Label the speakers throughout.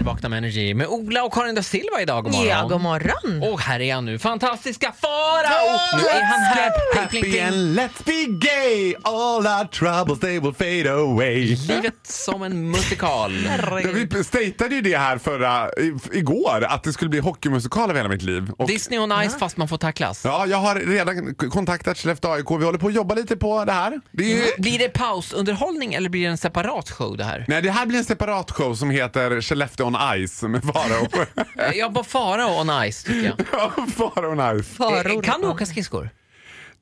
Speaker 1: Vakna med Energy med Ola och Karin da Silva idag. God morgon.
Speaker 2: Ja, god morgon.
Speaker 1: Och här är han nu, fantastiska Farao! nu är han här. Pling, pling,
Speaker 3: Happy
Speaker 1: pling.
Speaker 3: and let's be gay! All our troubles they will fade away.
Speaker 1: Livet som en musikal.
Speaker 3: Ja, vi stateade ju det här förra, i- igår, att det skulle bli hockeymusikal av hela mitt liv. Och,
Speaker 1: Disney on Ice fast man får tacklas.
Speaker 3: ja, jag har redan k- kontaktat Skellefteå AIK. Vi håller på att jobba lite på det här. Det är ju,
Speaker 1: Blir det pausunderhållning eller blir det en separat show det här?
Speaker 3: Nej, det här blir en separat show som heter Skellefteå on Ice med Farao.
Speaker 1: Jag bara Farao on Ice tycker jag.
Speaker 3: Ja, Farao on Ice.
Speaker 1: Eh, Kan du åka skridskor?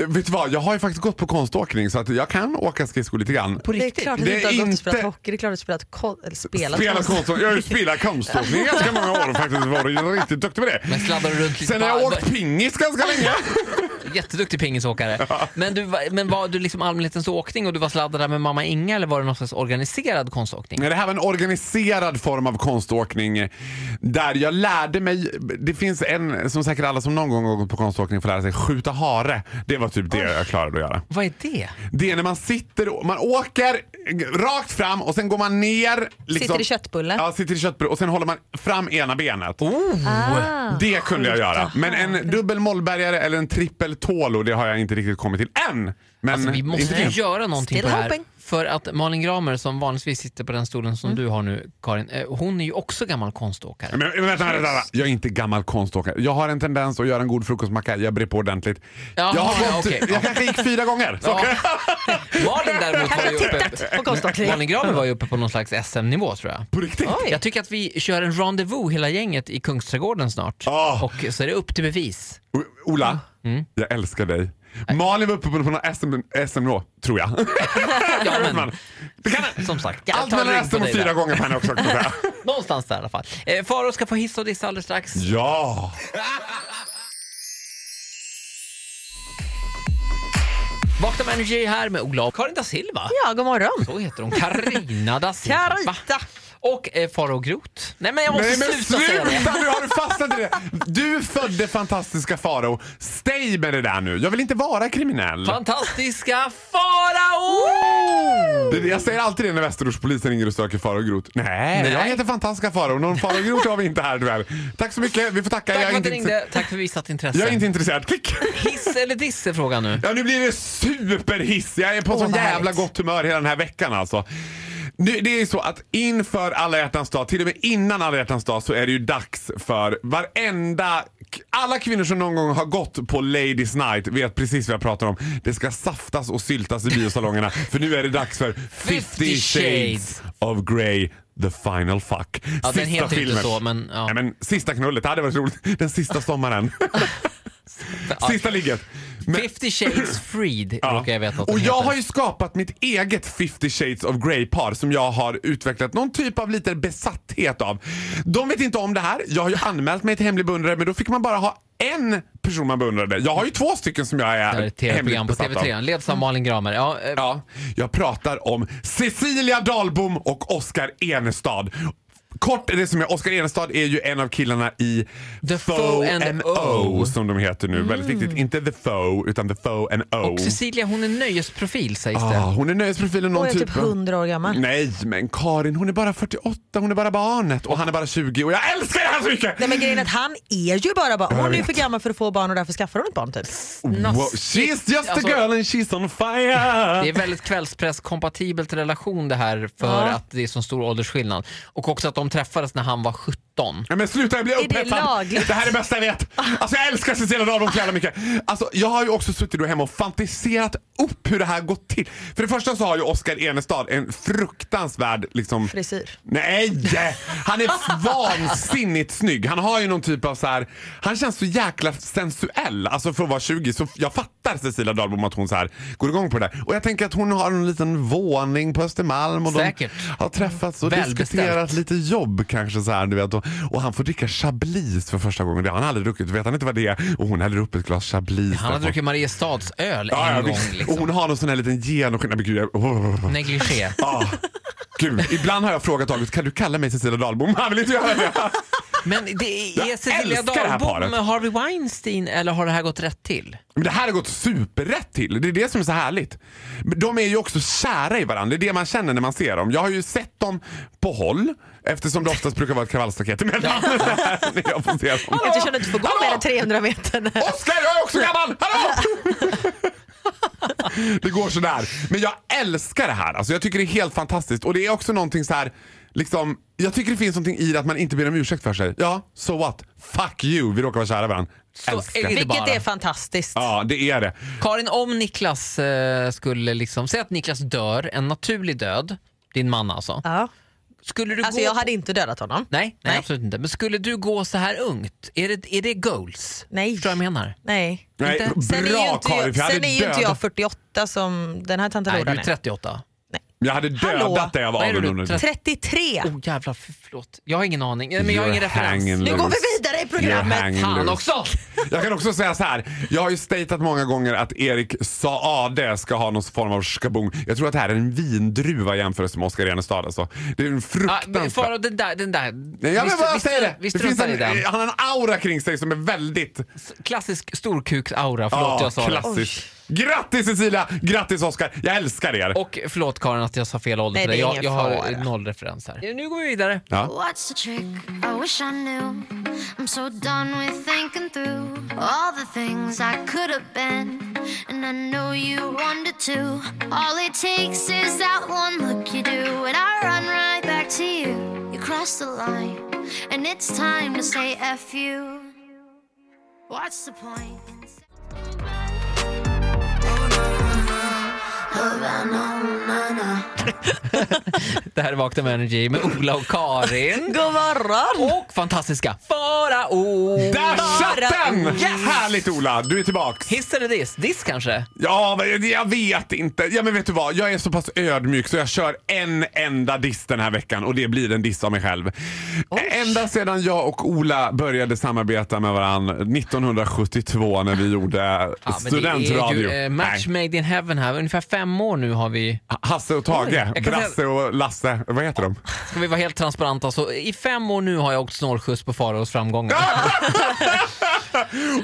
Speaker 3: Eh, Vet du vad, jag har ju faktiskt gått på konståkning så att jag kan åka skridskor lite grann.
Speaker 1: På
Speaker 2: Det är
Speaker 1: riktigt?
Speaker 2: klart att
Speaker 3: Det
Speaker 2: du inte har
Speaker 3: är
Speaker 2: gått
Speaker 3: inte-
Speaker 2: och spelat hockey, det är klart att du spelat kon- eller spelat
Speaker 3: Spela
Speaker 2: konst.
Speaker 3: konståkning. Jag har ju spelat konståkning i ganska många år faktiskt. Var riktigt duktig med det.
Speaker 1: Men sladdar du runt lite
Speaker 3: Sen har
Speaker 1: på
Speaker 3: jag
Speaker 1: armbö-
Speaker 3: åkt pingis ganska länge.
Speaker 1: Jätteduktig pingisåkare. Men, du, var- men var du liksom allmänhetens åkning och du var sladdad där med mamma Inga eller var det någon slags organiserad konståkning?
Speaker 3: Nej, Det här var en organiserad form av konståkning där jag lärde mig. Det finns en som säkert alla som någon gång har gått på konståkning får lära sig. Skjuta hare. Det var typ det jag klarade att göra.
Speaker 1: Vad är det?
Speaker 3: Det är när man sitter och man åker rakt fram och sen går man ner. liksom-
Speaker 2: Sitter i köttbulle.
Speaker 3: Ja, sitter i köttbulle och sen håller man fram ena benet.
Speaker 2: Ah.
Speaker 3: Det kunde jag
Speaker 2: skjuta
Speaker 3: göra. Men en dubbel mollbergare eller en trippel tålo, det har jag inte riktigt kommit till än. Men
Speaker 1: Alltså, vi måste
Speaker 3: Mm. inte
Speaker 1: ju
Speaker 3: det.
Speaker 1: göra någonting på
Speaker 2: Still
Speaker 1: det här.
Speaker 2: hoping.
Speaker 1: För att Malin Gramer som vanligtvis sitter på den stolen som
Speaker 2: Mm.
Speaker 1: du har nu Karin, eh, hon är ju också gammal konståkare.
Speaker 3: Men, men vänta, vänta, vänta. Jag är inte gammal konståkare. Jag har en tendens att göra en god frukostmacka. Jag brer på ordentligt.
Speaker 1: Jaha,
Speaker 3: jag har
Speaker 1: ja,
Speaker 3: gått,
Speaker 1: okej.
Speaker 3: jag kanske gick fyra gånger. Så.
Speaker 1: Malin däremot var ju uppe...
Speaker 2: Tittat på konståkning.
Speaker 1: Malin Gramer var ju uppe på någon slags SM-nivå tror jag.
Speaker 3: På riktigt.
Speaker 2: Oj.
Speaker 1: Jag tycker att vi kör en rendezvous hela gänget i Kungsträdgården snart.
Speaker 3: Ah.
Speaker 1: Och så är det upp till bevis.
Speaker 3: O- Ola,
Speaker 1: Mm.
Speaker 3: jag älskar dig. Malin var uppe på någon SM, SM-nivå, tror jag.
Speaker 1: Ja, men,
Speaker 3: Men, det kan,
Speaker 1: som sagt, jag
Speaker 3: allt
Speaker 1: tar en
Speaker 3: mellan
Speaker 1: rygg på
Speaker 3: SM och
Speaker 1: dig där.
Speaker 3: fyra gånger på henne också. kan jag säga.
Speaker 1: Någonstans där i alla fall. Eh, Faro ska få hissa och dissa alldeles strax.
Speaker 3: ja!
Speaker 1: Vakna med Energy här med Ola och Karin da Silva.
Speaker 2: Ja, god morgon.
Speaker 1: Så heter hon. Carina da Silva.
Speaker 2: Carita.
Speaker 1: Och eh, Faro Groth. Nej men jag måste
Speaker 3: Nej men
Speaker 1: sluta säga det.
Speaker 3: sluta! Nu har du fastnat i det. Du födde fantastiska Farao. Stay med det där nu. Jag vill inte vara kriminell.
Speaker 1: Fantastiska Farao!
Speaker 3: Det- Jag säger alltid det när Västerortspolisen ringer och söker Farao Groth. Nej,
Speaker 1: Nej.
Speaker 3: jag heter fantastiska Farao. Någon Farao Groth har vi inte här tyvärr. Tack så mycket. Vi får tacka.
Speaker 1: Tack
Speaker 3: jag,
Speaker 1: för
Speaker 3: är
Speaker 1: att du
Speaker 3: inte
Speaker 1: ringde. Tack för visat intresse.
Speaker 3: jag är inte intresserad. Klick!
Speaker 1: Hiss eller diss är frågan nu.
Speaker 3: Ja, nu blir det superhiss. Jag är på
Speaker 2: Åh,
Speaker 3: sån
Speaker 2: vad
Speaker 3: jävla
Speaker 2: härligt.
Speaker 3: gott humör hela den här veckan alltså. Nu, det är ju så att inför alla hjärtans dag, till och med innan alla hjärtans dag så är det ju dags för varenda... Alla kvinnor som någon gång har gått på Ladies Night vet precis vad jag pratar om. Det ska saftas och syltas i biosalongerna för nu är det dags för 50
Speaker 1: Shades
Speaker 3: Shades of Grey. The Final Fuck.
Speaker 1: Ja, den heter ju inte så, men, ja.
Speaker 3: Nej, men sista knullet, det hade varit roligt. Den sista sommaren. sista ligget. Men-
Speaker 1: 50 shades freed
Speaker 3: Ja.
Speaker 1: råkar jag veta att den
Speaker 3: Och jag
Speaker 1: heter.
Speaker 3: har ju skapat mitt eget 50 shades of Grey-par som jag har utvecklat någon typ av liten besatthet av. De vet inte om det här. Jag har ju anmält mig till hemlig beundrare men då fick man bara ha en person man beundrade. Jag har ju två stycken som jag
Speaker 1: Det här är ett
Speaker 3: är
Speaker 1: tv-program
Speaker 3: hemligt
Speaker 1: på
Speaker 3: besatt av.
Speaker 1: TV3. Leds av Malin Gramer. Ja, eh,
Speaker 3: Ja, jag pratar om Cecilia Dahlbom och Oscar Enestad. Kort är det som är, Oscar Enestad är ju en av killarna i
Speaker 1: The Foe and
Speaker 3: and
Speaker 1: O. Mm.
Speaker 3: O som de heter nu. Väldigt viktigt. Inte The Foe utan The Foe and O.
Speaker 1: Och Cecilia hon är nöjesprofil sägs det.
Speaker 3: Ah, hon är nöjesprofilen någon
Speaker 2: Och jag är typ
Speaker 3: av-
Speaker 2: 100 år gammal.
Speaker 3: Nej men Karin hon är bara 48, hon är bara barnet och han är bara 20 och jag älskar det här så mycket!
Speaker 2: Nej men grejen är att han är ju bara barn. Hon är ju
Speaker 3: vet.
Speaker 2: för gammal för att få barn och därför skaffar hon ett barn typ.
Speaker 3: Wow, she's just a
Speaker 1: Alltså,
Speaker 3: girl and she's on fire!
Speaker 1: Det är väldigt kvällspresskompatibelt relation det här för
Speaker 2: Ja.
Speaker 1: att det är så stor åldersskillnad. Och också att de träffades när han var 17.
Speaker 3: Nej, men sluta jag blir
Speaker 2: det
Speaker 3: upphetsad.
Speaker 2: lagligt?
Speaker 3: Det här är det bästa jag vet. Alltså jag älskar Cecilia Dahlblom så jävla mycket. Alltså jag har ju också suttit då hemma och fantiserat upp hur det här gått till. För det första så har ju Oscar Enestad en fruktansvärd liksom...
Speaker 2: Frisyr.
Speaker 3: Nej! Han är vansinnigt snygg. Han har ju någon typ av så här. Han känns så jäkla sensuell. Alltså för att vara 20 så jag fattar Cecilia Dahlbom att hon så här går igång på det där. Och jag tänker att hon har en liten våning på Östermalm och
Speaker 1: Säkert.
Speaker 3: de har träffats och
Speaker 1: Välbeställt.
Speaker 3: diskuterat lite jobb kanske så här, du vet. Och, och han får dricka Chablis för första gången. Det har han aldrig druckit. Vet han inte vad det är? Och hon häller upp ett glas Chablis.
Speaker 1: Han har
Speaker 3: därifrån.
Speaker 1: druckit Mariestads öl
Speaker 3: Ja,
Speaker 1: en
Speaker 3: ja,
Speaker 1: gång.
Speaker 3: visst. Och hon
Speaker 1: Liksom.
Speaker 3: har någon sån här liten genomskinlig... Men gud, jag... oh.
Speaker 1: Negligé.
Speaker 3: Ah, gud. Ibland har jag frågat August, kan du kalla mig Cecilia Dahlbom? Han vill inte göra det.
Speaker 1: Men det
Speaker 3: Jag
Speaker 1: är Cecilia
Speaker 3: älskar det här
Speaker 1: Dahlbom
Speaker 3: paret.
Speaker 1: med Harvey Weinstein eller har det här gått rätt till?
Speaker 3: Men det här har gått superrätt till. Det är det som är så härligt. Men de är ju också kära i varandra. Det är det man känner när man ser dem. Jag har ju sett dem på håll eftersom det oftast brukar vara ett kravallstaket emellan. när jag får se dem.
Speaker 2: Eftersom du inte får gå mer än 300 meter.
Speaker 3: Oskar, jag är också gammal! Hallå! det går sådär. Men jag älskar det här. Alltså, jag tycker det är helt fantastiskt. Och det är också någonting så här, liksom, jag tycker det finns någonting i det att man inte ber om ursäkt för sig. Ja, so what? Fuck you, vi råkar vara kära varandra.
Speaker 1: Så
Speaker 3: älskar.
Speaker 1: är det.
Speaker 2: Vilket
Speaker 1: bara.
Speaker 2: är fantastiskt.
Speaker 3: Ja, det är det.
Speaker 1: Karin, om Niklas eh, skulle liksom, säg att Niklas dör en naturlig död, din man alltså.
Speaker 2: Ja.
Speaker 1: Skulle du
Speaker 2: Alltså
Speaker 1: gå...
Speaker 2: jag hade inte dödat honom.
Speaker 1: Nej, nej,
Speaker 2: Nej.
Speaker 1: absolut inte. Men skulle du gå så här ungt? Är det, är det goals?
Speaker 2: Nej.
Speaker 1: Förstår du vad jag menar?
Speaker 2: Nej.
Speaker 3: Nej,
Speaker 1: Inte.
Speaker 3: bra
Speaker 2: Sen är ju inte,
Speaker 3: Karin,
Speaker 2: jag,
Speaker 3: för jag
Speaker 2: sen
Speaker 3: hade,
Speaker 2: är ju inte jag
Speaker 3: dödat,
Speaker 2: 48 som den här tanten
Speaker 1: Nej, du
Speaker 2: Lodan
Speaker 1: är
Speaker 2: är.
Speaker 1: 38.
Speaker 3: jag hade dödat
Speaker 2: Hallå?
Speaker 3: dig av
Speaker 1: Vad är du,
Speaker 3: avund.
Speaker 2: 33!
Speaker 1: Åh jävlar, för- förlåt. Jag har ingen aning. Eh, Men jag har ingen
Speaker 3: You're hanging
Speaker 1: referens.
Speaker 2: Nu går
Speaker 3: loose.
Speaker 2: vi vidare i
Speaker 3: You're
Speaker 2: programmet.
Speaker 3: hanging
Speaker 1: Fan
Speaker 3: loose.
Speaker 1: också!
Speaker 3: Jag kan också säga så här. Jag har ju statat många gånger att Erik Saade ska ha någon form av skabung. Jag tror att det här är en vindruva i jämförelse med Oskar Enestad. Alltså. Det är en
Speaker 1: Ja, men
Speaker 3: fruktansvärd...
Speaker 1: Farao, den där... Den där.
Speaker 3: Nej, jag
Speaker 1: vi
Speaker 3: vill
Speaker 1: str-
Speaker 3: bara
Speaker 1: vi
Speaker 3: säga
Speaker 1: str-
Speaker 3: det.
Speaker 1: Vi
Speaker 3: det finns
Speaker 1: struntar i
Speaker 3: en,
Speaker 1: den.
Speaker 3: han har en aura kring sig som är väldigt
Speaker 1: Klassisk storkuksaura. Förlåt,
Speaker 3: ja,
Speaker 1: jag sa det.
Speaker 3: klassisk. Grattis Cecilia! Grattis Oskar! Jag älskar er!
Speaker 1: Och förlåt Karin att jag sa fel ålder
Speaker 2: Nej,
Speaker 1: för dig.
Speaker 2: det är
Speaker 1: Jag,
Speaker 2: ingen
Speaker 1: jag har
Speaker 2: fara.
Speaker 1: noll referens här. Nu går vi vidare.
Speaker 3: Ja.
Speaker 4: What's the trick? I wish I knew. I'm so done with thinking through all the things I could have been. And I know you wanted to. All it takes is that one look you do, and I run right back to you. You cross the line, and it's time to say F you. What's the point? Oh, in Oh,
Speaker 1: Det här är Vakna med Energy med Ola och Karin.
Speaker 2: God morgon!
Speaker 1: och fantastiska Farao.
Speaker 3: Där satt den!
Speaker 1: Yes!
Speaker 3: Härligt Ola, du är tillbaks.
Speaker 1: Hiss eller diss? Diss kanske?
Speaker 3: Ja, men jag- jag vet inte. Ja, men vet du vad? Jag är så pass ödmjuk så jag kör en enda diss den här veckan och det blir en diss av mig själv. Ända sedan jag och Ola började samarbeta med varandra 1972 när vi gjorde
Speaker 1: men det är
Speaker 3: studentradio.
Speaker 1: ju eh, match
Speaker 3: Nej.
Speaker 1: made in heaven här. Ungefär fem år nu har vi...
Speaker 3: Hasse och
Speaker 1: Oj, jag
Speaker 3: Tage,
Speaker 1: kan säga-
Speaker 3: Brasse och Lasse, vad heter de?
Speaker 1: Ska vi vara helt transparenta så i fem år nu har jag åkt snålskjuts på Faraos framgångar.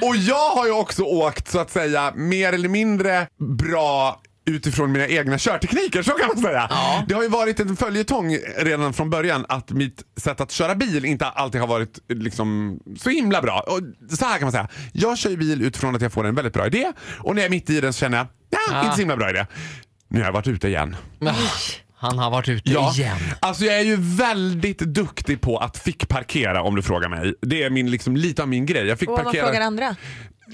Speaker 3: Och jag har ju också åkt så att säga mer eller mindre bra utifrån mina egna körtekniker, så kan man säga. Det har ju varit en följetong redan från början att mitt sätt att köra bil inte alltid har varit liksom, så himla bra. Och så här kan man säga, jag kör ju bil utifrån att jag får en väldigt bra idé och när jag är mitt i den så känner jag, ja, inte så himla bra idé. Nu har jag varit ute igen.
Speaker 1: Ah, Han har varit ute igen.
Speaker 3: Alltså jag är ju väldigt duktig på att fick parkera om du frågar mig. Det är min, liksom, lite av min grej. Jag fick
Speaker 2: Och om man
Speaker 3: parkera...
Speaker 2: frågar andra?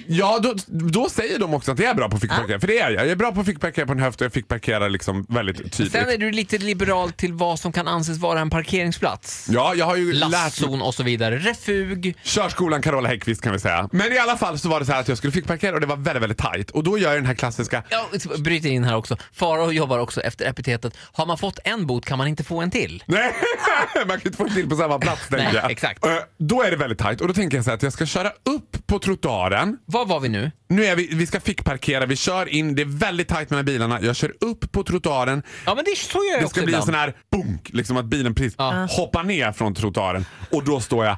Speaker 3: Ja, då, då säger de också att jag är bra på att fickparkera.
Speaker 1: Ah.
Speaker 3: För det är jag. Jag är bra på att fickparkera på en höft och jag fickparkerar liksom väldigt tydligt.
Speaker 1: Sen är du lite liberal till vad som kan anses vara en parkeringsplats.
Speaker 3: Ja, jag har ju lärt mig.
Speaker 1: Lastzon och så vidare. Refug.
Speaker 3: Körskolan Carola Häggkvist kan vi säga. Men i alla fall så var det så här att jag skulle fickparkera och det var väldigt, väldigt tajt. Och då gör jag den här klassiska
Speaker 1: Ja, bryter in här också. Farao jobbar också efter epitetet. Har man fått en bot kan man inte få en till.
Speaker 3: Nej, man kan inte få det till på samma plats tänker
Speaker 1: Nej,
Speaker 3: jag.
Speaker 1: exakt.
Speaker 3: Eh, Då är det väldigt tajt och då tänker jag så här att jag ska köra upp på trottoaren
Speaker 1: Var var vi nu?
Speaker 3: Nu är vi, vi ska fickparkera, vi kör in, det är väldigt tajt mellan bilarna. Jag kör upp på trottoaren.
Speaker 1: Ja men det är så gör jag
Speaker 3: Det
Speaker 1: också
Speaker 3: ska bli en
Speaker 1: ibland.
Speaker 3: sån här bunk, liksom att bilen precis hoppar ner från trottoaren. Och då står jag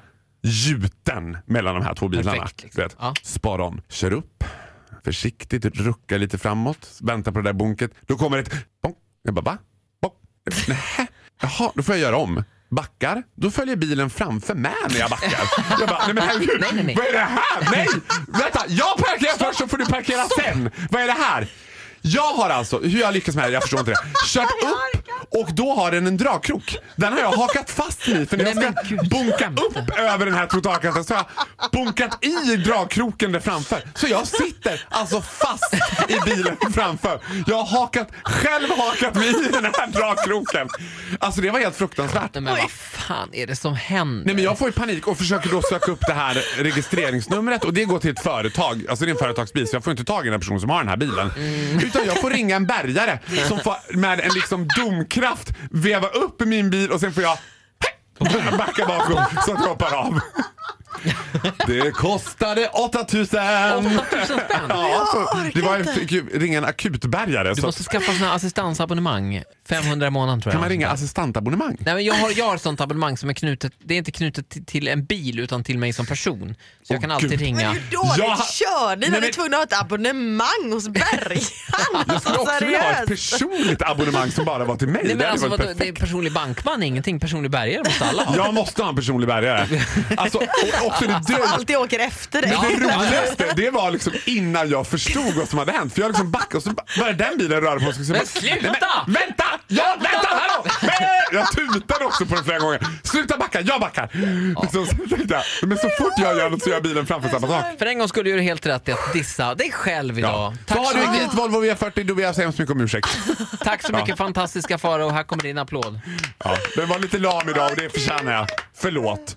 Speaker 3: gjuten mellan de här två bilarna.
Speaker 1: Perfekt, liksom.
Speaker 3: Du vet.
Speaker 1: Ja.
Speaker 3: Spar om, kör upp, försiktigt ruckar lite framåt, väntar på det där bunket. Då kommer ett bonk. Jag bara va? Bonk. Nähä. Jaha, då får jag göra om. Backar, då följer bilen framför mig när jag backar. Jag bara, nej men herregud,
Speaker 1: Nej, nej, nej.
Speaker 3: vad är det här? Nej! Vänta, jag parkerar först så får du parkera sen. Vad är det här? Jag har alltså, hur jag lyckas med det, jag förstår inte det. Kört upp och då har den en dragkrok. Den har jag hakat fast i för när jag
Speaker 1: Nej,
Speaker 3: ska
Speaker 1: men gud.
Speaker 3: bunka upp över den här trottoarkanten så har jag bunkat i dragkroken där framför. Så jag sitter alltså fast i bilen framför. Jag har hakat, själv hakat mig i den här dragkroken. Alltså det var helt fruktansvärt.
Speaker 1: Nej, men vad fan är det som händer?
Speaker 3: Nej men jag får ju panik och försöker då söka upp det här registreringsnumret och det går till ett företag, alltså det är en företagsbil så jag får inte tag i den här personen som har den här bilen.
Speaker 1: Mm.
Speaker 3: Utan jag får ringa en bärgare som får med en liksom domkraft veva upp min bil och sen får jag backa bakom så att jag hoppar av. Det kostade 8000!
Speaker 1: 8000 spänn!
Speaker 3: Ja, så
Speaker 2: orkar
Speaker 3: alltså, det var, jag
Speaker 2: inte.
Speaker 3: fick ju ringa en akutbärgare.
Speaker 1: Du
Speaker 3: Så
Speaker 1: måste skaffa såna här assistansabonnemang. 500 i månaden tror jag.
Speaker 3: kan man ringa assistantabonnemang?
Speaker 1: Nej, men jag, har, jag har ett sånt abonnemang som är knutet, det är inte knutet till, till en bil utan till mig som person. Så jag kan alltid
Speaker 3: Gud.
Speaker 1: ringa.
Speaker 2: Men hur dåligt
Speaker 3: Ja.
Speaker 2: kör ni när
Speaker 3: Nej,
Speaker 2: ni
Speaker 3: men-
Speaker 2: är tvungna att ha ett abonnemang hos Berghagen?
Speaker 3: Jag skulle också vilja ha ett personligt abonnemang som bara var till mig.
Speaker 1: Nej,
Speaker 3: Det
Speaker 1: men
Speaker 3: hade
Speaker 1: alltså,
Speaker 3: varit
Speaker 1: vadå, det är
Speaker 3: perfekt.
Speaker 1: personlig bankman är ingenting, personlig bärgare måste alla ha.
Speaker 3: Jag måste ha en personlig bärgare. Alltså, och också det,
Speaker 2: Som
Speaker 3: dö-
Speaker 2: alltid åker efter dig.
Speaker 1: Ja.
Speaker 3: det roligaste det var liksom innan jag förstod vad som hade hänt. För jag liksom backade och så ba- började den bilen röra på sig.
Speaker 1: Men
Speaker 3: Så bara,
Speaker 1: sluta!
Speaker 3: Nej, men, vänta! Ja, vänta! Hallå! Men- Jag tutade också på den flera gånger. Sluta backa! Jag backar! Liksom, så tänkte jag, men så fort jag gör något så gör bilen framför samma sak.
Speaker 1: För en gång skulle du helt rätt i att dissa dig själv idag.
Speaker 3: Ja.
Speaker 1: Tack,
Speaker 3: Tar
Speaker 1: så
Speaker 3: du en
Speaker 1: mycket,
Speaker 3: vit Volvo V40 då ber jag så hemskt mycket om ursäkt.
Speaker 1: tack så mycket fantastiska Farao, här kommer din applåd.
Speaker 3: Ja, den var lite lam idag och det förtjänar jag. Förlåt.